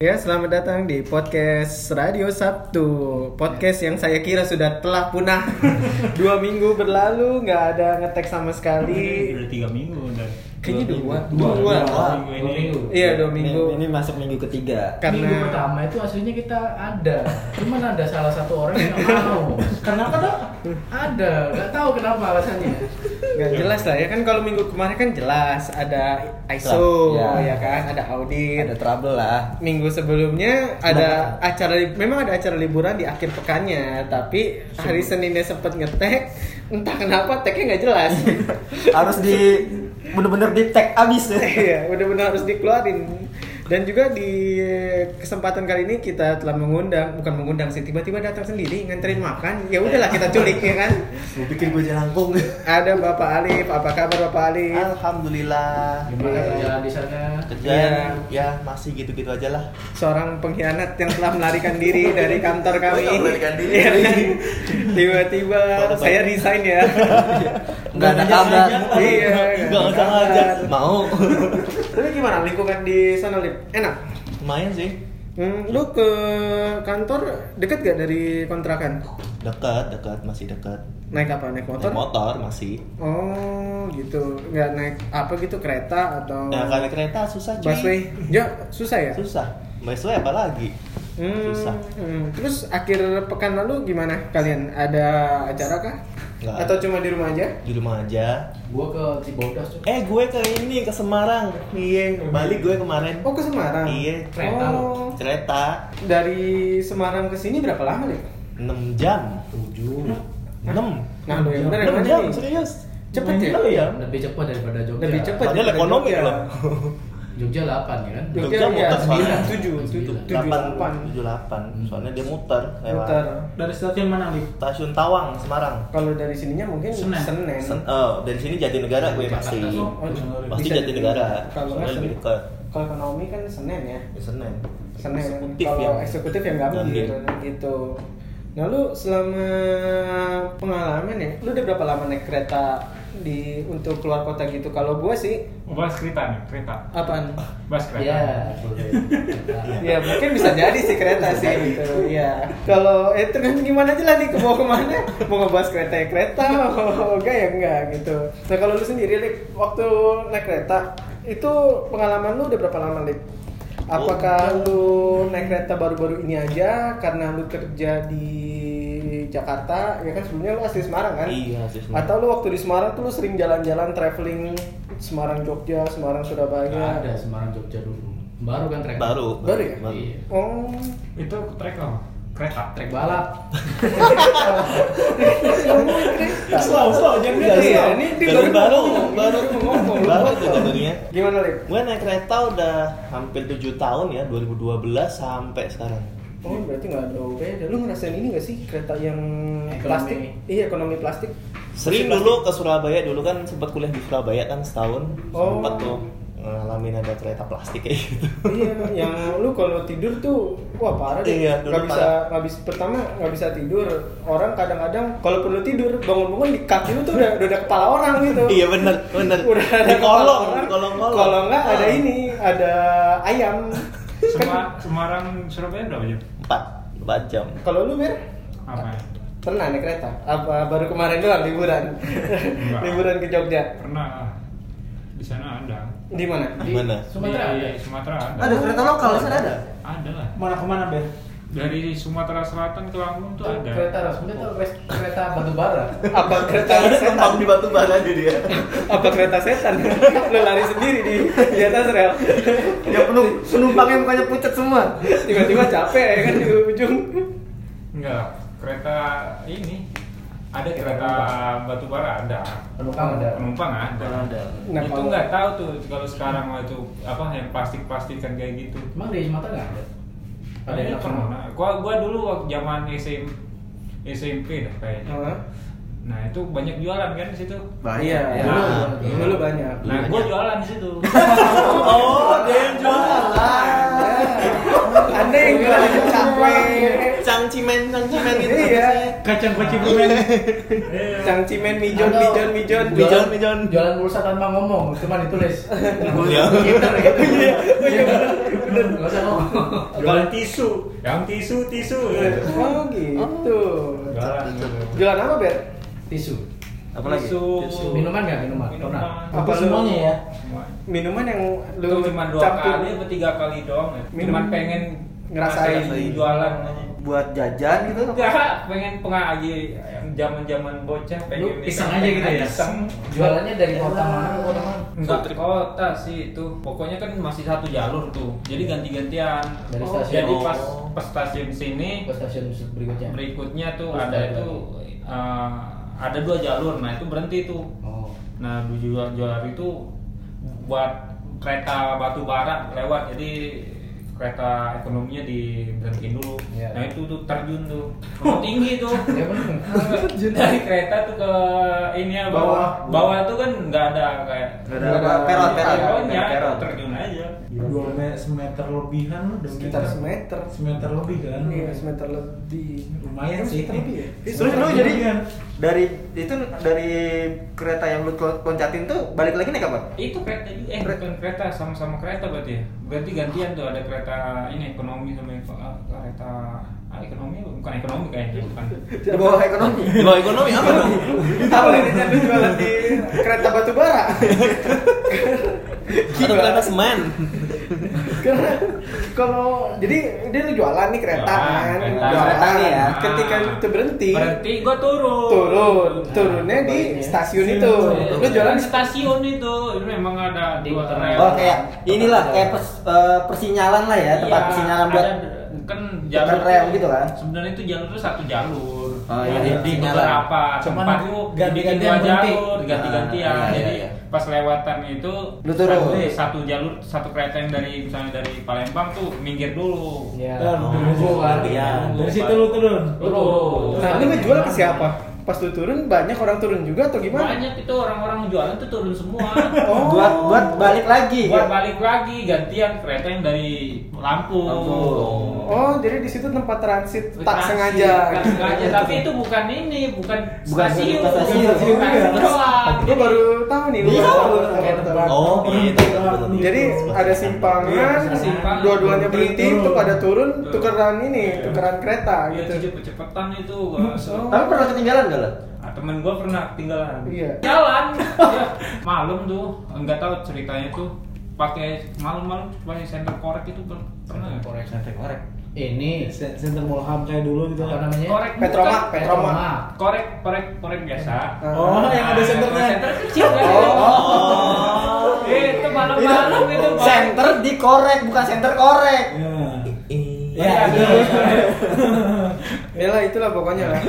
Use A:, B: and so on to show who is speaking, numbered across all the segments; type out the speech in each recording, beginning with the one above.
A: Ya, selamat datang di podcast Radio Sabtu. Podcast yang saya kira sudah telah punah. Dua minggu berlalu, nggak ada ngetek sama sekali.
B: udah tiga minggu udah
A: Kayaknya dua.
B: dua,
A: Dua.
B: dua
C: Wah,
B: minggu
C: dua
B: ini
C: minggu.
A: Iya, dua minggu. Nah.
C: Ini, ini masuk minggu ketiga.
A: Karena
D: Minggu pertama itu aslinya kita ada, cuman ada salah satu orang yang nggak mau.
B: kenapa dok
D: Ada, nggak tahu kenapa alasannya.
A: nggak jelas lah ya kan kalau minggu kemarin kan jelas ada ISO
C: Lah, ya.
A: ya. kan, ada audit.
C: Ada trouble lah.
A: Minggu sebelumnya ada acara li- memang ada acara liburan di akhir pekannya, tapi hari Seninnya sempat ngetek, entah kenapa teknya nggak jelas.
C: Harus di bener-bener di tag abis ya.
A: Iya, udah benar harus dikeluarin. Dan juga di kesempatan kali ini kita telah mengundang, bukan mengundang sih, tiba-tiba datang sendiri nganterin makan. Ya udahlah kita culik ya kan.
C: Gue pikir gue jelangkung.
A: Ada Bapak Alif, apa kabar Bapak Alif?
C: Alhamdulillah.
D: Gimana kerjaan di sana?
A: Iya.
C: Kerjaan ya masih gitu-gitu aja lah.
A: Seorang pengkhianat yang telah melarikan diri dari kantor kami.
C: Oh, melarikan diri.
A: Iya, kan? Tiba-tiba
C: Bapak-bapak.
A: saya resign ya.
C: Enggak ada kabar.
A: Iya,
C: Enggak usah
A: kabar.
C: ngajak. Mau.
A: Tapi gimana lingkungan di sana, Lip? Enak?
C: Lumayan sih.
A: Hmm, lu ke kantor deket gak dari kontrakan?
C: Dekat, dekat, masih dekat.
A: Naik apa? Naik motor?
C: Motor? motor masih.
A: Oh, gitu. Nggak naik apa gitu kereta atau
C: Nah, kalau kereta susah cuy.
A: busway? Ya, susah ya?
C: Susah. Busway apa lagi?
A: Hmm,
C: Susah.
A: hmm. Terus akhir pekan lalu gimana kalian? Ada acara kah?
C: Nggak
A: Atau
C: ada.
A: cuma di rumah aja?
C: Di rumah aja.
D: Gua ke Cibodas tuh.
C: Eh, gue ke ini ke Semarang. Iya, balik gue kemarin.
A: Oh, ke Semarang.
C: Iya,
D: kereta lu.
A: Oh.
C: Kereta
A: Dari Semarang ke sini berapa lama, Lip?
C: 6 jam 7 6
A: Nah, lu yang bener yang
C: 6
A: mana
C: jam
A: nih?
C: serius
A: Cepet ya?
C: Enam jam.
D: Lebih cepat daripada Jogja.
A: Lebih cepat.
C: Padahal
A: daripada
C: ekonomi
A: Jogja.
C: loh
D: Jogja 8 ya kan?
C: Jogja
A: Jogja ya,
C: muter
A: sembilan,
C: soalnya.
A: tujuh, tujuh,
D: Sembilan.
A: tujuh, delapan. Hmm.
C: 8 78 soalnya dia muter lewat
A: Muter.
B: dari stasiun mana Lip?
C: stasiun Tawang Semarang
A: Kalau dari sininya mungkin
B: Senen.
A: Senen.
C: Sen oh, dari sini Jatinegara gue
D: Jakarta,
C: pasti
D: kok.
A: Oh,
C: pasti
A: bisa
C: Jatinegara
A: juga. Kalau nggak
C: soalnya lebih
A: Senen.
C: dekat
A: Kalau ekonomi kan Senen ya.
C: Ya, Senen
A: Senen.
C: eksekutif
A: Kalau
C: ya iya.
A: eksekutif yang gabung
C: Gabung.
A: gitu. gitu. Nah lu selama pengalaman ya, lu udah berapa lama naik kereta di untuk keluar kota gitu? Kalau gua sih
E: Oh, Bahas kereta nih, kereta.
A: apaan?
E: Bahas kereta.
D: Iya. boleh.
A: Ya mungkin bisa jadi sih kereta sih gitu. Iya. Kalau eh tergantung gimana aja lah nih mau kemana? Mau ngebahas kereta ya kereta, mau enggak ya enggak gitu. Nah kalau lu sendiri Lip, waktu naik kereta itu pengalaman lu udah berapa lama Lip? Apakah lu naik kereta baru-baru ini aja karena lu kerja di Jakarta? Ya kan sebelumnya lu asli Semarang kan?
C: Iya, asli Semarang.
A: Atau lu waktu di Semarang tuh lu sering jalan-jalan traveling Semarang Jogja, Semarang
D: Nggak
A: Surabaya.
D: ada Semarang Jogja dulu. Baru kan trek.
C: baru
A: Baru ya?
D: Iya.
A: Oh,
E: Itu trek apa? Kereta.
D: Trek balap.
C: slow slow jangan
A: Iya,
C: slow.
A: ini dia
C: Dari
A: baru
C: baru
A: ngomong.
C: baru
A: Ini baru ngomong.
C: baru tuh jadinya
A: Gimana Lip?
C: Gue naik kereta udah hampir 7 tahun ya, 2012 sampai sekarang.
A: Oh berarti nggak ada beda. Lu ngerasain ini nggak sih kereta yang
D: Ekonomi.
A: plastik? Iya ekonomi plastik.
C: Sering dulu ke Surabaya, dulu kan sempat kuliah di Surabaya kan setahun.
A: Oh.
C: Sempat tuh ngalamin ada kereta plastik kayak gitu.
A: iya yang lu kalau tidur tuh wah parah deh.
C: Iya, dulu
A: nggak bisa
C: parah.
A: nggak bisa pertama nggak bisa tidur. Orang kadang-kadang kalau perlu tidur bangun-bangun di kaki lu tuh udah udah ada kepala orang gitu.
C: iya bener, bener.
A: Udah ada
C: di
A: kepala
C: kolong,
A: orang.
C: di kolong-kolong. Ah.
A: Kalau nggak ada ini ada ayam.
E: Sema- Semarang Surabaya berapa jam?
C: 4, 4 jam.
A: Kalau lu mer?
E: Apa ya?
A: Pernah naik kereta? Apa baru kemarin doang liburan?
E: Enggak.
A: liburan ke Jogja.
E: Pernah lah. Di sana ada.
A: Di mana?
D: Di
C: Mana?
D: Sumatera
B: Iya,
D: ada.
E: Di Sumatera ada.
C: Ada kereta lokal sana ada?
E: Ada lah.
B: Mana kemana Bel?
E: Dari Sumatera Selatan ke Lampung tuh ada.
D: Kereta resmi tuh res- kereta batu bara.
A: apa kereta
C: Ada
A: setan
C: tempat di batu bara ada dia.
A: apa kereta setan lo lari sendiri di di atas rel
C: Dia penum, penumpangnya mukanya pucat semua.
A: tiba-tiba capek ya kan di ujung
E: Enggak lah. Kereta ini. Ada kereta batubara ada.
D: Penumpang ada.
E: Penumpang ada.
C: Ada.
A: Nah,
E: itu
A: kalau-
E: nggak tahu tuh kalau sekarang itu apa yang plastik plastikan kayak gitu.
D: Emang di Sumatera nggak ada? Ada yang
E: Ada
D: nggak pernah.
E: pernah. Gua gua dulu waktu zaman SM, SMP dah kayaknya.
A: Hah?
E: Nah itu banyak jualan kan di situ.
A: iya
D: ya.
A: dulu
E: Nah,
A: dulu banyak
E: Nah
C: Banyak.
E: gue jualan di situ.
C: Oh, dia yang jualan.
A: ada Anda yang jualan capek.
C: Cang cimen, cang cimen gitu.
A: Iya.
B: Kacang koci permen.
E: Iya.
A: Cangcimen mijon
D: Atau
A: mijon mijon mijon.
C: Mijon, mijon.
D: Jualan pulsa tanpa ngomong, cuma ditulis.
C: Iya.
D: Gitu, gitu. Nggak usah ngomong.
E: Jualan tisu, yang tisu tisu.
A: Oh gitu.
E: Iya. Jualan gitu.
A: Jualan apa ber?
D: Tisu.
C: Apa lagi?
E: Tisu.
D: Minuman nggak minuman? Pernah.
E: Minuman.
A: Apa
B: Apa
A: lu-
B: semuanya ya?
A: Minuman yang
E: Itu
A: lu
E: cuma dua kali atau tiga kali doang ya. Cuman
A: Minum.
E: pengen
A: Ngerasain.
E: jualan.
C: Buat jajan gitu.
E: Enggak, pengen pengagi zaman-zaman bocah
D: Lu
E: pengen
D: iseng
E: pengen
D: aja gitu ya?
E: Iseng.
D: Jualannya dari kota mana ke kota mana?
E: Enggak
C: Food trip.
E: kota sih itu. Pokoknya kan masih satu jalur tuh. Jadi ganti-gantian.
D: Iya. Dari
E: Oh,
D: stasiun.
E: Jadi pas pas stasiun sini
D: Ke stasiun berikutnya.
E: berikutnya tuh
D: Terus
E: ada
D: ada
E: itu eh, ada dua jalur. Nah, itu berhenti tuh.
D: Oh.
E: Nah, di jual jualan itu buat kereta batu bara lewat jadi kereta ekonominya diberhentiin dulu.
D: Iya.
E: Nah itu tuh terjun tuh, Rumah tinggi tuh.
D: Ya benar.
E: Dari kereta tuh ke ini ya bawah. Bawah tuh kan nggak ada kayak
C: Nggak ada apa? Peron, peron.
E: peronnya,
C: Peron.
E: terjun aja.
B: Dua me- semeter lebihan lu udah
A: sekitar
B: meter.
A: semeter.
B: Semeter lebih kan?
A: Iya semeter lebih.
B: Lumayan
A: Iya,
B: sih.
A: semeter lebih ya?
C: Terus
F: Iya.
C: lu jadi dari itu dari kereta yang lu loncatin tuh balik lagi naik apa?
E: Itu kereta juga, eh bukan kereta, sama-sama kereta berarti ya? Berarti gantian tuh ada kereta ini ekonomi sama eko- kereta ah, ekonomi bukan ekonomi kayaknya bukan.
C: Di bawah ekonomi. Di bawah ekonomi apa dong?
A: Apa ini jadi jualan di kereta batu bara?
C: Atau kereta semen.
A: Karena kalau jadi dia lu jualan nih kereta
E: Jualan,
A: kan.
E: kereta. Ah.
C: Kereta nih ya.
A: Ketika itu berhenti,
E: Berhenti Ah, gua turun. Iya,
A: turun turunnya di
D: baliknya.
B: Stasiun
A: stasiun itu.
B: itu.
A: Lu jualan
E: di stasiun itu. Itu memang ada
D: Di
E: dua
D: kota
E: rel.
F: Oh kayak inilah kayak pers- eh, persinyalan lah ya, tempat
E: Iya,
F: persinyalan buat
E: ada, kan jalur
F: tekan rel
E: tuh-
F: gitu kan?
E: Sebenarnya itu jalur itu satu jalur.
F: Oh, iya,
E: Jadi
F: iya,
E: di
F: persinyalan.
E: beberapa
D: Cuman
E: tempat tuh dibikin
D: ganti-gantian
E: dua
D: berhenti.
E: jalur, ganti-gantian.
F: Ah, iya,
E: Jadi
F: iya.
E: pas lewatan itu
F: Lu turun.
E: satu, satu jalur satu kereta yang dari misalnya dari Palembang tuh minggir dulu.
F: Iya.
D: Ya.
B: Dan
C: Oh,
B: nunggu kan?
C: iya.
B: Dari situ lu turun.
E: Turun.
A: Nah, ini ngejual ke siapa? Pas lu turun banyak orang turun juga atau gimana?
E: Banyak itu orang-orang jualan tuh turun semua.
A: Oh.
F: buat buat balik
C: iya.
F: lagi. gitu.
E: Buat balik lagi gantian kereta yang dari Lampung.
F: Lampung.
A: Oh, jadi di situ tempat transit tak
E: Transit,
A: sengaja.
E: tak sengaja tapi itu bukan ini bukan
F: Bukan
E: stasiun
F: bukan stasiun.
E: bukan stasiun doang
A: Gue baru tahu nih. lu
F: Iya.
A: baru tahu, baru
D: Kayak
A: tahu.
D: terbang.
C: Oh, gitu.
A: Jadi ada
B: Iya,
A: simpangan,
E: simpang.
A: dua-duanya berhenti,
B: Turun.
A: itu pada turun,
E: Turun.
A: tukeran ini, tukeran kereta
E: Iya,
A: gitu.
E: cepet cepetan itu
A: Oh.
F: Tapi pernah ketinggalan gak lah?
E: Ah, temen gua pernah ketinggalan
A: Iya.
E: jalan ya. malam tuh nggak tahu ceritanya tuh pakai malam-malam pakai center korek itu per- pernah nggak?
D: Korek.
F: korek.
D: Ini
B: Se- Center Mall Hub kayak dulu gitu
D: apa
B: kan.
D: namanya?
E: korek
A: Petromak,
E: bukan.
A: Petromak.
E: korek korek korek biasa
B: Oh, yang ada
E: Ah,
B: senternya.
E: senter kecil kan Eh,
F: Oh.
E: itu
C: Iya.
E: malam-malam itu Pak.
F: Center di korek bukan center korek.
B: Iya.
E: Iya,
F: Ya,
E: iya, iya.
A: Ya lah itulah pokoknya lah.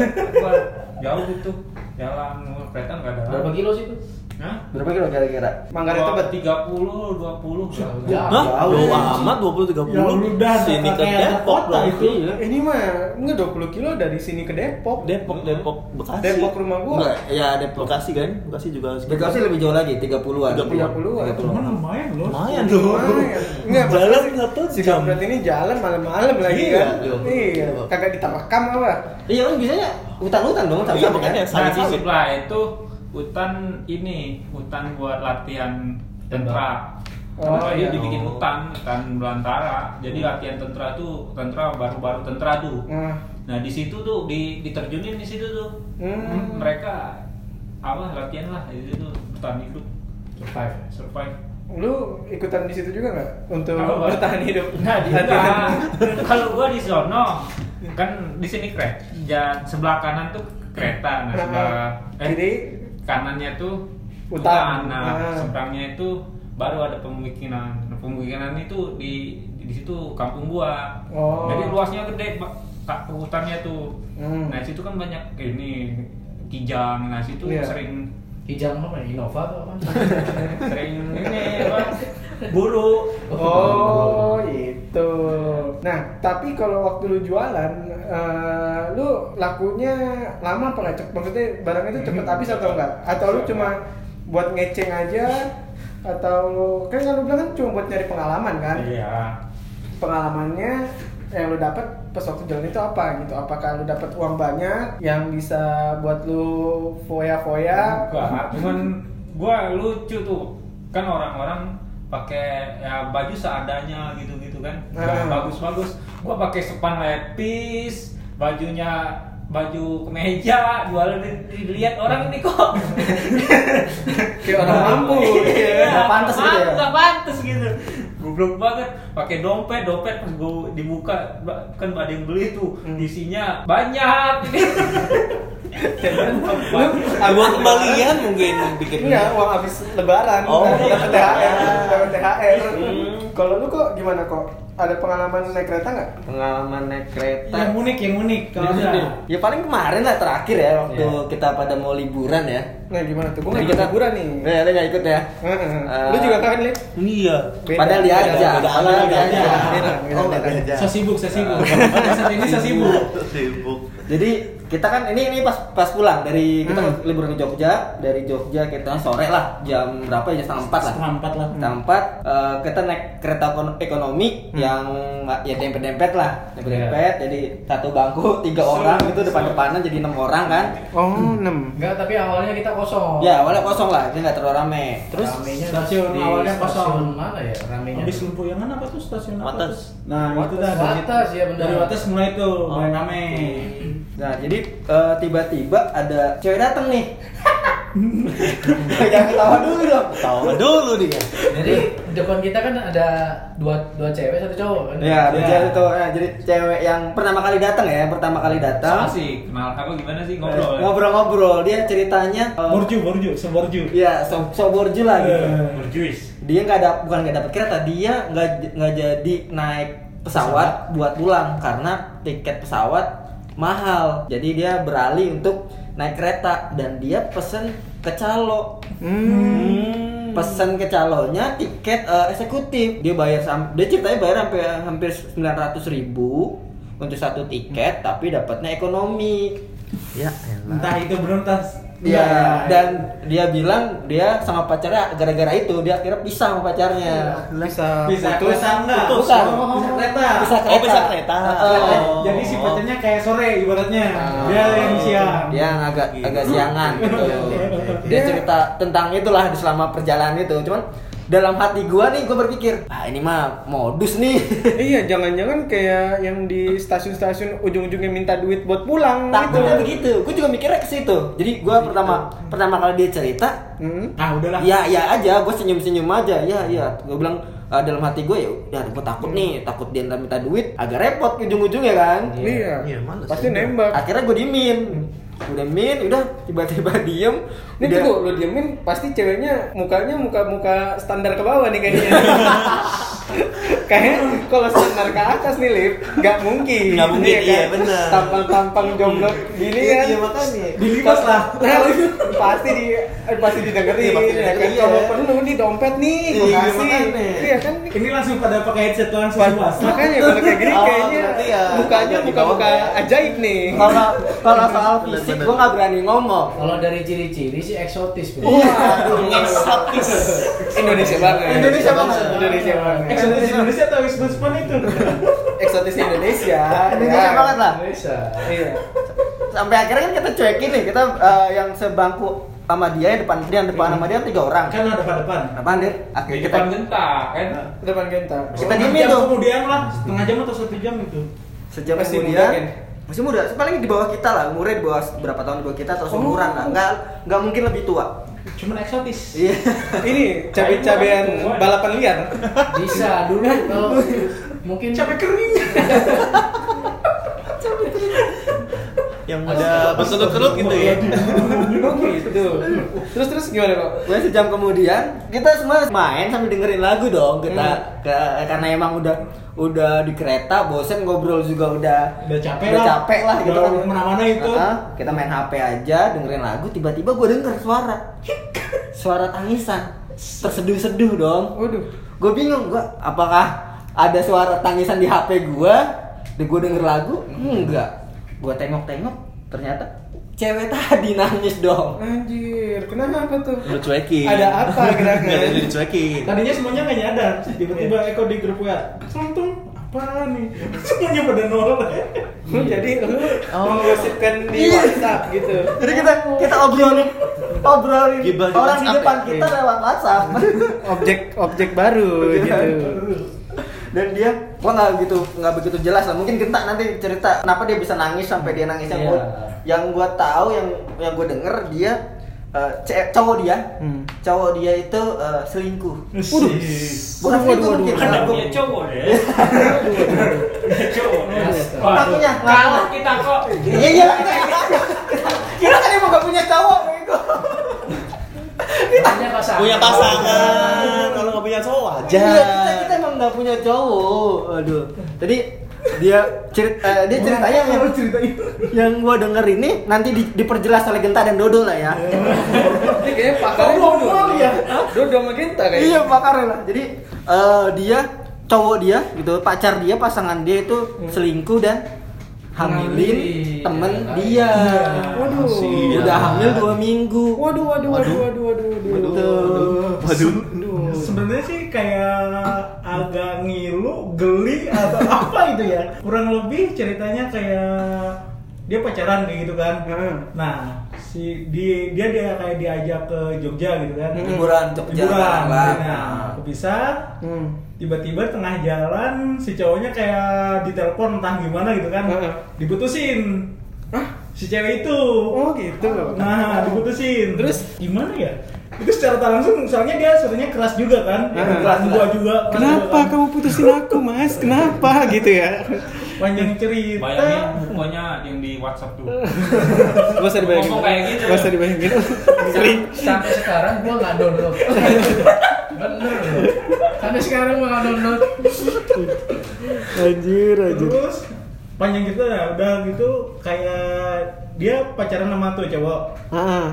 E: Wah, jauh gitu jalan mau kereta nggak ada
D: Berapa kilo sih itu?
E: Hah?
F: Berapa kilo kira-kira?
A: Manggarai Tebet.
E: tiga puluh dua puluh
D: Jauh.
C: Hah? Jauh
B: Iya.
C: amat 20 30.
B: Ya lu dah,
C: sini ke
B: kayak ada
C: Depok
B: kota
C: berarti.
B: itu.
A: Ini mah nggak 20 kilo dari sini ke Depok.
C: Depok, Depok, Bekasi.
A: Hmm. Depok rumah gua.
C: Enggak, ya Depok Bekasi kan. Bekasi juga harus.
F: Bekasi lebih jauh lagi, 30-an.
A: 30-an.
B: Cuman
D: Hmm,
B: lumayan loh.
C: Lumayan loh.
A: Lumayan. Enggak,
C: Jalan
A: pasti-
C: satu
A: Si
C: jam.
A: Kamrat Ya, ini jalan malam-malam lagi
C: Iya,
A: kan.
C: iya.
A: Iya, kagak diterekam apa?
F: Iya kan biasanya hutan-hutan
C: Iya,
F: dong, hutan-hutan
C: makanya.
E: nah
F: kan?
C: Sama-sama.
E: di sebelah itu hutan ini hutan buat latihan tentara
A: Oh,
E: Oh,
A: iya.
E: dia dibikin hutan, hutan belantara. Jadi latihan tentara tuh, tentara baru-baru tentara tuh.
A: Nah,
E: Nah di situ tuh di, diterjunin di situ tuh.
A: Hmm.
E: Mereka apa latihan lah di situ bertahan hidup,
D: Survive.
E: survive.
A: lu ikutan di situ juga nggak untuk
E: Kalau-
A: bertahan hidup?
E: Nah, juga.
A: Latihan.
E: Kalau gua di sono kan di sini kereta, ja- sebelah kanan tuh kereta, nah sebelah eh,
A: Kiri.
E: kanannya tuh
A: Hutan.
E: hutan, nah
A: Ah.
E: seberangnya itu baru ada pemukiman. Nah, pemukiman itu di di di situ kampung gua.
A: Oh.
E: Jadi luasnya gede, Pak. Pak, hutannya tuh.
A: Hmm.
E: Nah, situ kan banyak ini kijang. Nah, situ
A: Iya.
E: sering
D: Kijang apa namanya? Innova atau apa?
E: sering ini apa? Buru.
A: Oh, itu. Nah, tapi kalau waktu lu jualan, eh, lu lakunya lama apa nggak? Cep- Maksudnya barangnya itu cepet habis atau enggak? Atau lu cuma buat ngeceng aja? Atau lu kan kalau bilang kan cuma buat nyari pengalaman kan?
E: Iya.
A: Pengalamannya yang lu dapat pas waktu jalan itu apa gitu apakah lu dapat uang banyak yang bisa buat lu foya-foya
E: Enggak, Ya, cuman gua lucu tuh. Kan orang-orang pakai ya, baju seadanya gitu-gitu kan.
A: Ah.
E: Nggak Bagus-bagus. Gua pakai sepan lepis, bajunya baju kemeja, gua li- dilihat orang ini kok.
A: kayak orang mampu
E: Iya,
A: ya.
F: nggak pantas gitu ya?
E: Nggak pantas gitu. Goblok banget. Pakai dompet, dompet pas gua dibuka kan ada yang beli tuh. Isinya banyak.
G: Buat kembalian mungkin bikin.
A: Enggak, Iya, uang habis lebaran
G: Oh,
A: Nah,
G: iya.
A: dapat THR, dapat THR.
F: Hmm.
A: Kalau lu kok gimana kok? Ada pengalaman naik kereta nggak?
F: Iya, Pengalaman naik kereta.
B: Yang unik, yang unik
C: Iya,
B: kalau ada.
F: Ya paling kemarin lah terakhir ya waktu kita pada mau liburan ya.
A: Nah, gimana tuh? Gua
F: Nah,
A: nggak
F: kita-
A: ikut liburan nih.
F: Nah, lu nggak ikut ya?
A: Heeh.
F: Eh,
A: Lu juga kan, Lip?
G: Iya.
A: Beda.
F: Padahal dia
A: Beda,
F: aja.
A: beda,
F: Padahal dia aja.
A: beda, beda,
F: Oh,
A: beda.
C: iya.
F: beda.
B: Saya sibuk, saya sibuk. Pada saat ini saya sibuk.
G: Sibuk.
F: Jadi kita kan ini ini pas pas pulang dari kita
A: Hmm.
F: libur ke Jogja, dari Jogja kita sore lah jam berapa ya setengah empat lah.
B: Setengah empat lah.
F: Setengah empat eh, kita naik kereta ekon- ekonomi yang ya dempet dempet lah, dempet dempet. Jadi satu bangku tiga orang gitu depan depanan jadi enam orang kan.
A: Oh, 6.
D: Enggak, tapi awalnya kita kosong.
F: Ya awalnya kosong lah, jadi nggak terlalu rame. Terus
D: ramenya
B: stasiun
D: di
B: awalnya
D: stasiun
B: kosong.
D: Mana ya ramenya?
B: Habis Lumpuyangan apa tuh stasiun apa
G: Wates.
B: tuh? Nah, itu dah dari
D: Wates,
E: iya
D: ya benar.
B: Dari Wates mulai tuh
E: Oh.
B: mulai rame.
F: Nah, jadi eh, tiba-tiba ada cewek dateng nih. Jangan ketawa dulu dong.
G: Tahu dulu ya. dia.
D: Jadi depan kita kan ada dua dua cewek satu cowok kan.
F: Ya,
B: Ya.
F: jadi itu eh, jadi cewek yang pertama kali datang ya, pertama kali datang.
E: Sama sih, kenal apa gimana sih ngobrol.
F: Eh, Ngobrol-ngobrol, dia ceritanya eh,
B: Borju, borju, seborju.
F: ya so, soborju lah gitu.
B: Eh.
E: Berjuis.
F: Dia nggak ada bukan nggak dapat kereta, dia nggak j- nggak jadi naik pesawat buat pulang karena tiket pesawat mahal. Jadi dia beralih untuk naik kereta dan dia pesen ke calo. pesan ke calonnya tiket eh, eksekutif dia bayar sam dia ceritanya bayar sampai hampir 900.000 ribu untuk satu tiket tapi dapatnya ekonomi ya
B: Entah itu belum tas.
F: Iya, dan dia bilang dia sama pacarnya gara-gara itu dia akhirnya pisah sama pacarnya.
A: Bisa
B: bisa
A: putus.
B: kereta enggak?
F: Putus.
B: Bukan, bisa kereta.
F: Bisa kereta.
G: Oh, bisa kereta.
F: Heeh.
G: Oh.
B: Jadi si pacarnya kayak sore ibaratnya.
F: Ah.
B: Dia yang siang.
F: Dia yang agak
G: Gitu.
F: agak siangan gitu. Dia cerita tentang itulah di selama perjalanan itu. Cuman dalam hati gua nih gua berpikir, ah ini mah modus nih.
A: Iya, jangan-jangan kayak yang di stasiun-stasiun ujung-ujungnya minta duit buat pulang gitu.
F: takutnya begitu gue juga mikirnya ke situ jadi gue pertama pertama kali dia cerita
A: Hmm.
B: Ah, udahlah.
F: ya ya aja gue senyum senyum aja ya ya gue bilang "Ah, dalam hati gue ya udah gue takut nih takut dia ntar minta duit agak repot ujung ujungnya kan
A: Iya.
G: Iya, males
A: Pasti
G: ya.
A: nembak.
F: akhirnya gue dimin udah min udah tiba-tiba diem
A: Ini
F: udah-
A: tuh lu diemin pasti ceweknya mukanya muka-muka standar ke bawah nih kayaknya. Kayaknya kalau standar ke atas nih Lip, nggak mungkin.
G: Nggak mungkin,
A: kan?
G: iya, benar.
A: Tampang-tampang jomblo gini kan.
G: Iya makanya.
B: Dilipas lah.
A: Nah, pasti di eh, pasti didengerin.
G: Iya, pasti
A: ya kan?
G: didengerin,
A: Kalau
G: iya.
A: perlu nih dompet nih, gua
G: Iya,
A: kasih.
G: makanya.
A: Iya kan?
B: Ini langsung pada pakai headset langsung
A: Pas-
B: puas.
E: Nah,
A: Makanya kalau kayak gini
G: Oh,
A: kayaknya
G: berarti ya.
A: mukanya muka-muka ajaib nih.
F: kalau kalau soal fisik
G: Bener-bener.
F: gue nggak berani ngomong
D: Kalau dari ciri-ciri sih eksotis. Bro.
G: Eksotis.
A: Indonesia banget.
F: Indonesia banget.
A: Indonesia banget.
B: Eksotis Indonesia atau eksotis pan itu?
A: Eksotis Indonesia.
F: Indonesia
A: ya.
F: banget lah
D: Bisa.
A: Iya.
F: sampai akhirnya kan kita cuekin nih kita eh, yang sebangku sama dia yang depan dia yang depan sama dia tiga orang
B: Kan ada pada depan.
F: Apaan deh?
E: Di
A: Iya,
F: Akhirnya kita
E: depan gentak kan.
B: Nah.
A: Depan genta.
F: Kita
B: Setengah
F: diemin
B: jam
F: tuh.
B: Kemudian lah setengah jam atau satu jam itu.
F: sejam
A: Masih
F: kemudian
A: muda, kan? Ken?
F: masih muda, paling di bawah kita lah, umurnya di bawah berapa tahun di bawah kita atau seumuran lah,
A: Oh.
F: nggak nggak mungkin lebih tua.
B: Cuman eksotis.
F: Iya.
A: Ini cabai-cabean balapan liar.
D: Bisa dulu kalau mungkin
B: Capek kering.
G: Yang udah berkelut-kelut gitu ya.
A: Oh gitu. Terus terus gimana kok?
F: Gue sejam kemudian kita semua main sambil dengerin lagu dong kita ke- karena emang udah udah di kereta bosen ngobrol juga udah
B: Udah capek
F: udah
B: lah.
F: capek lah gitu
B: Udah
F: kan.
B: kemana-mana itu.
F: Heeh, kita main HP aja dengerin lagu tiba-tiba gue denger suara suara tangisan terseduh-seduh dong
A: Waduh.
F: gue bingung gue apakah ada suara tangisan di HP gue dan gue denger lagu enggak gue tengok-tengok ternyata cewek tadi nangis dong
A: Anjir, kenapa tuh?
G: Lu cuekin.
A: Ada apa
G: Enggak ada
A: kira-kira?
G: dicuekin.
B: Tadinya semuanya nggak nyadar. Tiba-tiba Eko di grup WA. Seluntung. Apa
D: apa nih semuanya pada nol
A: Jadi lu
F: Oh.
A: menggosipkan di
F: Iya.
A: WhatsApp gitu.
F: Jadi kita kita obrolin obrolin
C: Gibah di
F: orang di
C: WhatsApp
F: depan
A: ya?
F: kita
A: Iya.
F: lewat WhatsApp.
A: Objek objek baru gitu.
F: Dan dia gua nggak gitu nggak begitu jelas lah. Mungkin kita nanti cerita kenapa dia bisa nangis sampai dia nangis yang
H: Iya.
F: gua yang gua tahu yang yang gua denger dia eh, ce- cowok dia
A: Hmm.
F: cowok dia itu eh, selingkuh.
D: waduh
F: Bukan
A: Waduh,
F: selingkuh
A: waduh, waduh.
F: mungkin.
E: Karena
F: Nah,
E: punya
F: gua-
E: cowok deh. Punya cowok. Waduh,
F: Ngakunya, ngaku.
E: Kalah kita kok.
F: Iya iya kita kita kan emang gak punya cowok gitu. bego.
H: Punya pasangan.
C: Punya pasangan, kalau nggak punya cowok aja.
F: Iya, kita kita emang nggak punya cowok. Aduh. Jadi dia cerit eh, dia ceritanya yang cerita yang gua denger ini nanti di- diperjelas oleh Genta dan Dodo lah ya.
A: Ini kayaknya pakarnya
D: Kok
A: Dodo.
D: ngomong ya?
A: Dodo magenta kayaknya.
F: iya pakar lah. Jadi eh, dia cowok dia gitu pacar dia pasangan dia itu selingkuh dan hamilin
H: Hamilin.
F: temen
H: Iya.
F: dia.
A: Waduh.
D: Iya.
C: Kasihan.
F: Udah hamil dua minggu.
A: Waduh, waduh, waduh, waduh, waduh, waduh.
C: Waduh.
D: sebenarnya sih kayak agak ngilu geli atau apa itu ya kurang lebih ceritanya kayak dia pacaran kayak gitu kan
A: Heeh.
D: nah si di dia dia kayak diajak ke Jogja gitu kan
A: Hmm.
F: Liburan Jogja
D: liburan
F: Palembang.
D: nah bisa
A: Hmm.
D: tiba-tiba tengah jalan si cowoknya kayak ditelepon entah gimana gitu kan
A: Heeh.
D: diputusin si cewek itu
A: Oh gitu.
D: nah diputusin
A: Terus?
D: gimana ya itu secara tak langsung soalnya dia sebenarnya keras juga kan
A: Heeh.
D: keras gua juga keras
A: Kenapa
D: juga kan.
A: kamu putusin aku, Mas? Kenapa gitu ya?
D: panjang cerita
E: Bayangin mukanya yang di WhatsApp tuh.
A: Gak usah dibayangin.
E: Ngomong kayak gitu.
A: Gak usah dibayangin. Sering.
H: sampai sekarang gua nggak download bener loh sampai sekarang gua nggak download
A: Anjir, anjir.
D: terus panjang cerita ya udah gitu kayak dia pacaran sama tuh cowok
A: Heeh.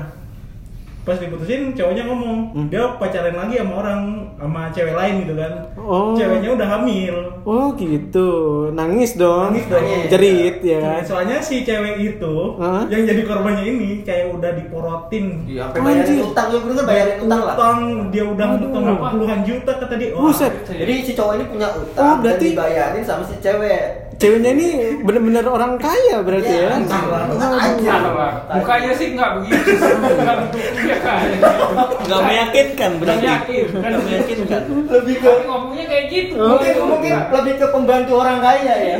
D: pas diputusin cowoknya ngomong
A: Hmm.
D: dia pacaran lagi sama orang sama cewek lain gitu kan
A: Oh.
D: ceweknya udah hamil
A: Oh gitu. Nangis dong.
D: Nangis dong.
A: Jerit ya kan. Ah,
D: soalnya si cewek itu
A: Hah?
D: yang jadi korbannya ini kayak udah diporotin
F: Iya, sampai bayarin
A: Anjir.
F: utang, ya bener bayarin utang lah.
D: utang dia udah utang
A: Aduh.
D: puluhan juta kata dia Wah,
A: Buset.
F: Jadi si cowok ini punya utang
A: Oh, berarti-
F: dan dibayarin sama si cewek.
A: Ceweknya ini bener-bener orang kaya berarti ya.
F: anjing lah. Anjing.
E: Salah. Mukanya sih nggak begitu. Nggak bentuknya kan.
C: Nggak meyakinkan berarti.
E: Nggak meyakinkan.
C: Nggak meyakinkan.
F: lebih ke
E: kan? Tapi ngomongnya kayak gitu.
F: mungkin mungkin lebih ke pembantu orang kaya ya.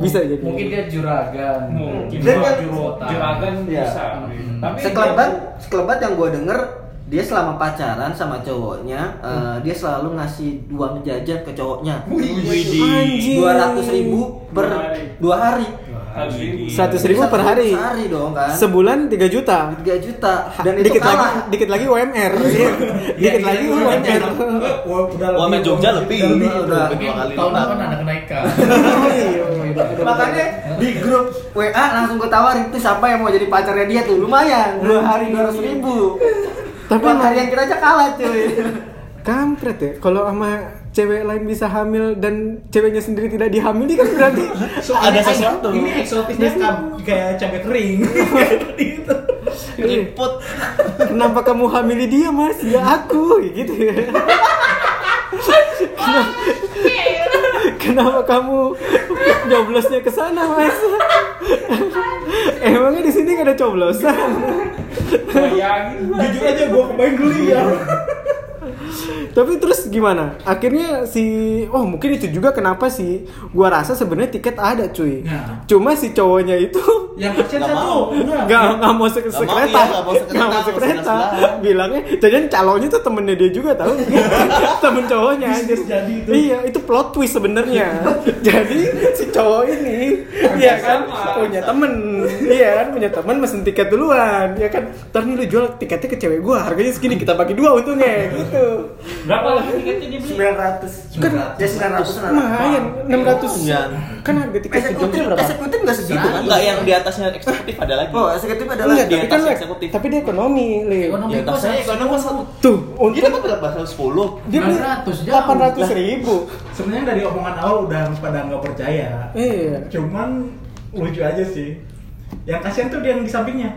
A: Bisa jadi.
H: mungkin dia juragan
E: mungkin
F: Dan kan-
E: juragan, juragan
F: Iya.
E: bisa.
H: Hmm.
E: Tapi
F: sekelebat sekelebat yang gue denger dia selama pacaran sama cowoknya eh, dia selalu ngasih uang jajan ke cowoknya
C: Widih.
A: Anjing.
F: dua ratus ribu per
E: Dua hari.
F: dua hari
E: Harus ini.
A: Seratus ribu per
F: Satu
A: hari.
F: sehari dong kan
A: Sebulan 3 juta.
F: 3 juta dan itu
A: dikit
F: kalah
A: lagi dikit lagi UMR Iya. dikit lagi UMR
D: Wah, udah
C: Wah, main Jogja lebih.
D: Udah
F: Lebih, udah.
C: Dua kali.
H: tahun depan ada kenaikan
A: Iya,
F: makanya di grup WA langsung gue tawarin tuh siapa yang mau jadi pacarnya dia tuh lumayan dua hari dua ratus ribu
A: Hmm. Tapi
F: tapi
A: emang-
F: harian kita aja kalah cuy
A: kampret ya kalau sama cewek lain bisa hamil dan ceweknya sendiri tidak dihamili kan berarti
C: Ada sesuatu.
D: ini eksotisnya kab- kayak cabai kering gitu
C: Keriput.
A: kenapa kamu hamili dia mas ya aku gitu ya Kenapa- Kenapa kamu coblosnya ke sana, Mas? Emangnya di sini gak ada coblosan?
E: bayangin.
D: jujur aja gua kemarin geli ya
A: Tapi terus gimana? Akhirnya si oh mungkin itu juga kenapa sih gua rasa sebenarnya tiket ada cuy.
D: Nah.
A: Cuma si cowoknya itu
D: yang kecil
C: Nggak
D: satu Nah,
C: mau.
A: nggak nggak mau se-
C: Nggak mau, iya, nggak mau
A: sekreta,
C: sekreta,
A: nggak mau
C: nggak mau
A: sekreta.
C: sebelah-sebelahan.
A: Bilangnya jadi calonnya tuh temennya dia juga tahu. Temen cowoknya anjir.
D: Bisnis jadi itu.
A: Iya, itu plot twist sebenarnya. jadi si cowok ini iya kan
E: Sama.
A: punya temen iya kan punya temen mesen tiket duluan ya kan ntar nih lu jual tiketnya ke cewek gua harganya segini kita bagi dua untungnya gitu
E: Berapa lagi tiketnya dibeli?
F: sembilan ratus ya sembilan ratus
A: Lumayan, 600
C: Iya.
A: Kan harga tiket sejam
F: eksekutif
A: tuh berapa?
F: eksekutif nggak segitu
C: Gitu
F: kan
C: kan nggak yang di atasnya eksekutif ada lagi.
F: oh eksekutif adalah
A: Enggak,
C: di
A: tapi kan
C: atas
A: Lek,
C: eksekutif.
A: tapi dia ekonomi, Li.
H: ekonomi
F: kan
C: Ya,
H: gua
C: tapi-
H: saya ekonomi
A: Tuh,
C: Dia
A: untung
C: dapat berapa? 110.
A: dia beli
H: 900 jauh.
A: 800 ribu.
D: sebenarnya dari omongan awal udah pada nggak percaya
A: Iya.
D: cuman lucu aja sih yang kasihan tuh dia yang di sampingnya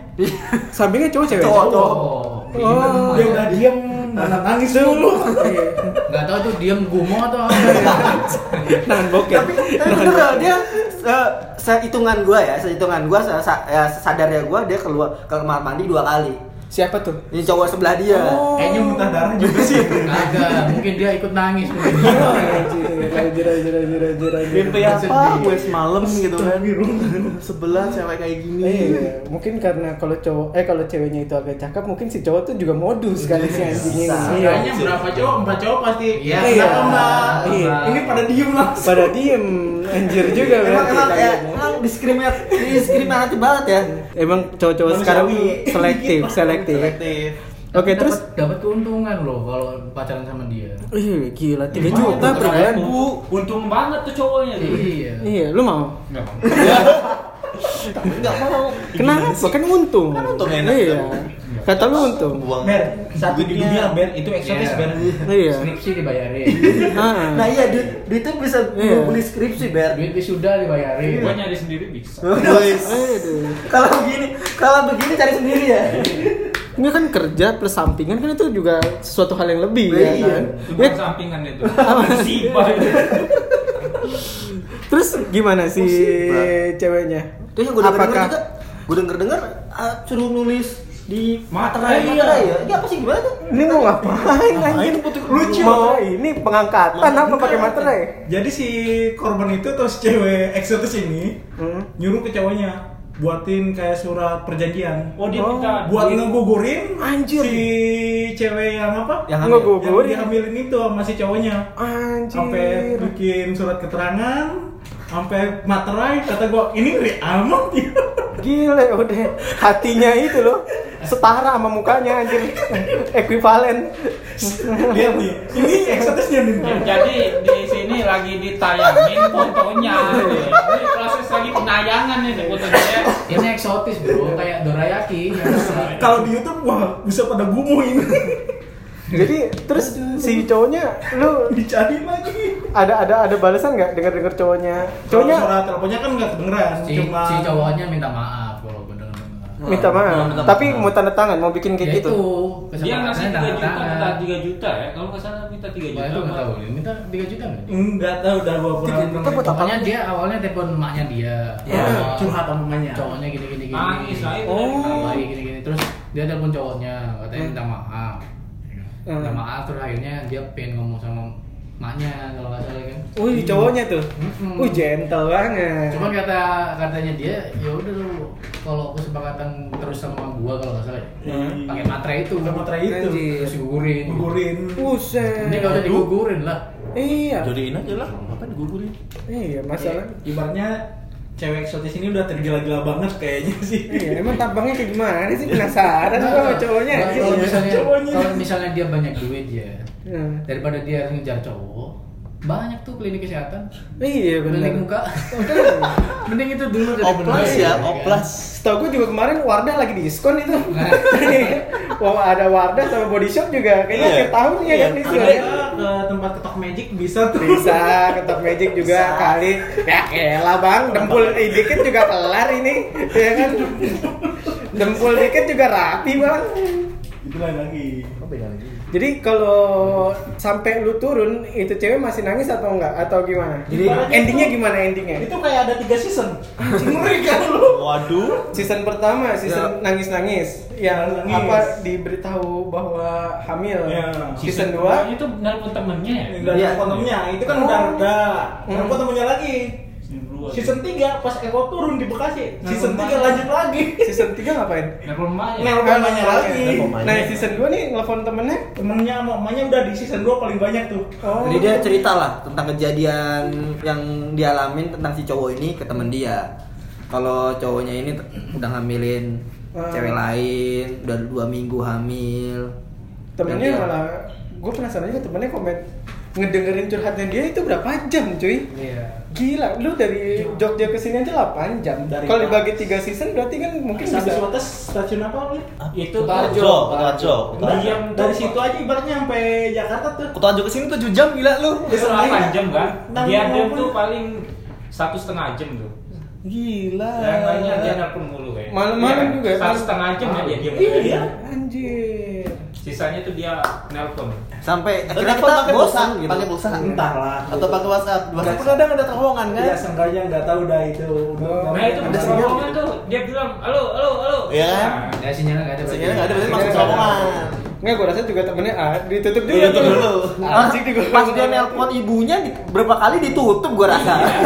A: Sampingnya cowok cewek.
F: Cowok.
H: oh
A: Oh,
B: dia udah diem nangis nangis dulu
A: Iya.
D: Gak tau tuh diem gumo atau apa ya.
A: nahan bokep.
F: tapi tapi bener loh, dia se- sehitungan gua ya sehitungan gua se sa- ya, sesadarnya gua dia keluar ke kamar mandi dua kali
A: Siapa tuh?
F: ini cowok sebelah dia
C: Oh.
D: Oh.
B: kayaknya muntah darah juga sih Iya.
D: Kagak, mungkin dia ikut nangis mungkin.
A: Anjir, anjir, anjir, anjir, anjir.
B: Gitu
G: Mimpi
B: ya.
G: apa gue semalam gitu kan Sebelah cewek kayak gini
A: Iya, mungkin karena kalau cowok eh kalau ceweknya itu agak cakep, mungkin si cowok tuh juga modus kali si anjing ini. Iya.
B: kayaknya berapa cowok empat cowok pasti
D: Iya.
B: kenapa mbak
A: Iya.
B: ini pada diem langsung
A: Pada diem, anjir juga
F: emang
A: berarti.
F: emang ya
A: kayaknya.
F: emang diskriminatif diskriminatif banget ya
A: Emang cowok-cowok sekarang tuh
B: Manusiawi.
A: selektif, selektif.
G: Selektif
A: Oke, terus
D: dapat keuntungan loh kalau pacaran sama dia.
A: Ih, gila 3
E: Gimana
A: juta
E: tuh
A: per
E: caranya?
A: bulan.
E: Bu, untung banget tuh cowoknya tuh.
D: Iya.
A: Iya, lu mau?
E: Nggak mau.
G: Enggak mau
A: Kenapa? Kan untung.
G: Kan untung enak.
A: Iya. Kata lu untung.
G: Buang
B: Mer, satu di dunia Mer, itu eksotis
D: Iya.
B: Mer
A: Iya.
D: Skripsi dibayarin.
A: Ah.
F: nah iya duit duit tuh bisa
A: Iya.
F: gua beli skripsi ber
D: Duit wisuda
B: Iya.
D: dibayarin.
E: Gue nyari sendiri bisa.
C: Eh.
A: Aduh.
F: kalau begini kalau begini cari sendiri ya
A: Ini kan kerja plus sampingan kan itu juga sesuatu hal yang lebih ya
F: Iya.
A: kan?
E: Itu
A: Ya,
E: bukan sampingan itu. Musibah itu.
A: terus gimana si
F: Musibah.
A: ceweknya?
F: terus yang gue denger
A: Apakah-
F: juga gue denger denger
G: ah,
F: suruh nulis di
E: Materai.
B: iya.
F: materai ya ini apa sih gimana tuh
A: Ini mau ngapain anjing?
B: Lucu.
A: Mau ini pengangkatan apa pakai materai?
B: Jadi si korban itu terus cewek eksotis ini
A: Hmm.
B: nyuruh ke cowoknya buatin kayak surat perjanjian.
E: Oh, dia
A: Oh,
E: minta
D: Iya.
B: buat ngegugurin
A: Anjir.
B: si cewek yang apa?
F: Yang hamil.
B: yang
A: Ngegugurin.
B: dihamilin itu sama si cowoknya. Sampai
A: Anjir.
B: bikin surat keterangan, sampai materai kata gua ini ngeri amat ya.
A: Gila udah hatinya itu loh setara sama mukanya anjir ekuivalen
B: Lihat nih, ini eksotisnya nih.
E: Ya, jadi di sini lagi ditayangin fotonya. Ini Ini proses lagi penayangan ini fotonya.
D: Ini eksotis
B: Iya.
D: bro, kayak dorayaki.
B: Kalau di YouTube wah bisa pada gumoh ini.
A: jadi terus si cowoknya lu
B: Dicari lagi.
A: ada ada ada balasan nggak dengar dengar cowoknya
B: Cowoknya
A: cowoknya
B: suara teleponnya kan nggak kedengeran,
D: si,
B: cuma
D: si cowoknya minta maaf kalau gue denger.
A: minta maaf tapi mau tanda tangan mau bikin
D: Ya
A: kayak
D: itu
A: gitu
E: Dia ngasih
D: kesepakatannya
E: 3 juta, minta
D: tangan.
E: 3 juta ya. Kalau nggak salah minta 3
D: Wah
E: juta.
D: itu nggak
E: Pak.
D: tahu, dia minta 3 juta nggak?
B: nggak tahu udah gua kurang
A: Kita buat apa?
D: Pokoknya dia awalnya telepon emaknya dia.
A: Iya,
B: Ya,
D: Oh,
B: curhat sama mamanya.
D: Cowoknya gini gini gini.
E: Nangis lah itu.
A: Oh.
D: lagi gini gini terus dia telepon cowoknya katanya minta maaf minta
A: Hmm.
D: maaf terus akhirnya dia pengen ngomong sama maknya kalau nggak salah kan
A: Wih cowoknya tuh,
D: Mm-mm.
A: wih gentle banget.
D: Hmm. cuman kata katanya dia ya udah lu kalau kesepakatan terus sama gua kalau nggak salah ya,
A: Hmm.
E: kan
D: pakai materai itu
B: Pakai materai itu.
A: Anjir. Uh,
D: terus digugurin
B: Gugurin.
D: ini nggak usah
A: Buset.
D: digugurin lah
A: Iya,
G: Jodiin aja lah Ngapain digugurin
A: iya masalah.
B: Ibaratnya cewek eksotis ini udah tergila-gila banget kayaknya sih.
A: Iya, emang tabangnya kayak gimana sih penasaran gua sama cowoknya.
D: Nah, kalau misalnya
B: Cowoknya.
D: kalau misalnya dia banyak duit ya
A: Hmm.
D: daripada dia harus ngejar cowok banyak tuh klinik kesehatan
A: Iya benar.
D: klinik muka mending itu dulu
G: Oplas ya
D: kan?
G: Oplas
A: Setahu gue juga kemarin Wardah lagi diskon itu. Wah ada Wardah sama Body Shop juga kayaknya
G: Iya.
A: akhir tahun ya
G: Iya.
A: kan diskon.
B: Kita eh, ke tempat ketok magic bisa tuh.
A: Bisa ketok magic juga kali. Ya elah bang, dempul eh, dikit juga kelar ini, ya kan? Dempul dikit juga rapi bang.
B: Itu lain lagi.
A: Jadi kalau sampai lu turun itu cewek masih nangis atau enggak atau gimana?
B: Jadi-
A: endingnya gimana endingnya?
B: Itu kayak ada tiga season. Ngeri kan lu.
G: Waduh
A: Season pertama, season nangis-nangis yang
B: Ya. Nangis.
A: apa diberitahu bahwa hamil.
B: Ya.
A: Season
E: Wah,
A: 2
E: itu nelpon temennya ya.
B: Enggak ada
F: Iya.
B: fotonya. Itu kan udah
G: Oh.
B: ada.
A: Hmm.
B: Ada fotonya lagi.
E: ya?
B: Season 3 pas Eko turun di Bekasi.
G: Nah,
B: Season 3 lanjut lagi.
A: season 3 ngapain?
E: Nelpon emaknya.
G: ya?
B: Nelpon emaknya lagi.
A: Nah, season 2 nih nelfon temennya.
B: Temennya sama emaknya udah di season 2 paling banyak tuh.
A: Oh.
F: Jadi dia cerita lah tentang kejadian yang dialamin tentang si cowok ini ke temen dia. Kalau cowoknya ini t- udah ngambilin
A: Hmm.
F: cewek lain, udah dua minggu hamil.
A: temennya
F: Dan
B: ya.
F: dia-
A: malah gue penasaran juga temennya komen ngedengerin curhatnya dia itu berapa jam cuy
D: Iya.
A: gila lu dari Jogja ke sini aja 8 jam
B: Dari
A: kalau
B: mana?
A: dibagi 3 season berarti kan mungkin
B: Habis
A: bisa
B: Wates stasiun apa lu?
D: Tarjo.
E: Itu Tarjo.
G: Kutarjo Kutarjo
B: Diam dari situ aja ibaratnya sampai Jakarta tuh.
G: Kutarjo kesini 7 jam gila lu
E: Itu 8 jam kan?
B: Enam
E: Dia
B: jam
E: jam
B: pun.
E: tuh paling satu setengah jam tuh.
A: gila
E: Yang lainnya dia nelpon mulu
A: Eh.
E: ya.
A: Malam-malam juga,
E: Satu
A: malam. Iya.
E: setengah jam ya dia diam.
B: Iya.
A: anjir
E: sisanya tuh dia nelpon
C: sampai akhirnya
G: Telepon
C: kita
G: pakai
C: bosan
G: pulsa,
C: gitu
G: pakai pulsa.
C: entahlah
G: atau pakai WhatsApp. WhatsApp pun kadang ada terowongan kan?
B: Ya seenggaknya nggak tahu dah itu.
A: Oh,
E: nah itu
B: Ada
E: pas
B: sinyal.
E: rombongan tuh dia bilang halo halo halo
G: Iya kan?
E: Nah,
D: Ada sinyalnya nggak ada. berarti.
G: Sinyalnya nggak ada, berarti masuk terowongan.
A: Nggak, gua rasa juga temennya ah, ditutup dulu. Ah,
G: Ditutup dulu.
A: Anjing di
C: pas dia nelpon ibunya di- berapa kali ditutup gua rasa
B: Iya.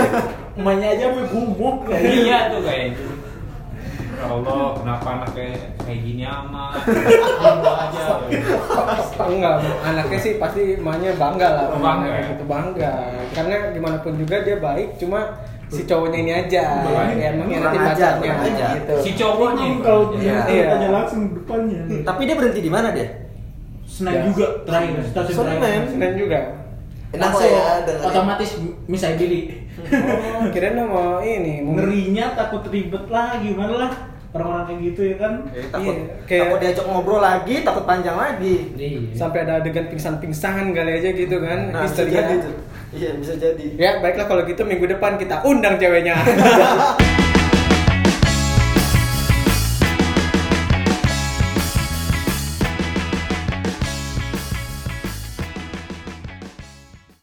B: Emaknya aja gue gumuk kayaknya.
E: iya tuh kayak gitu. Ya Allah, kenapa anaknya kayak gini amat? aja.
A: Enggak, anaknya sih pasti emaknya bangga lah.
E: Oh, bangga
A: Kayak
E: ya?
A: gitu bangga. Karena gimana pun juga dia baik, cuma si cowoknya ini aja
E: Kurang-
A: ya mengkhianati
C: kurang
G: Iya,
C: ajar,
A: pacarnya
C: kurang ajar.
A: gitu.
E: Si cowoknya
B: Bingung
E: yang
B: kalau
E: kurang
B: dia
E: ajar.
A: Iya.
B: tanya langsung depannya.
C: tapi dia berhenti di mana deh
B: Senang juga terakhir stasiun
G: Ya. Senang.
B: terakhir.
A: Senang juga.
G: Enak sih ya dengerin.
D: Otomatis misai Billy.
G: Hmm.
A: Oh, kirain lo mau ini mau
B: Ngerinya takut ribet lah gimana lah orang-orang kayak gitu ya kan.
C: Eh, takut
A: Iya, kayak-
C: takut diajak ngobrol lagi takut panjang lagi
D: Iya.
A: sampai ada adegan pingsan-pingsan kali aja gitu kan
C: Nah, bisa
A: historinya.
C: jadi tuh. Iya, bisa jadi.
A: Ya, baiklah kalau gitu minggu depan kita undang ceweknya.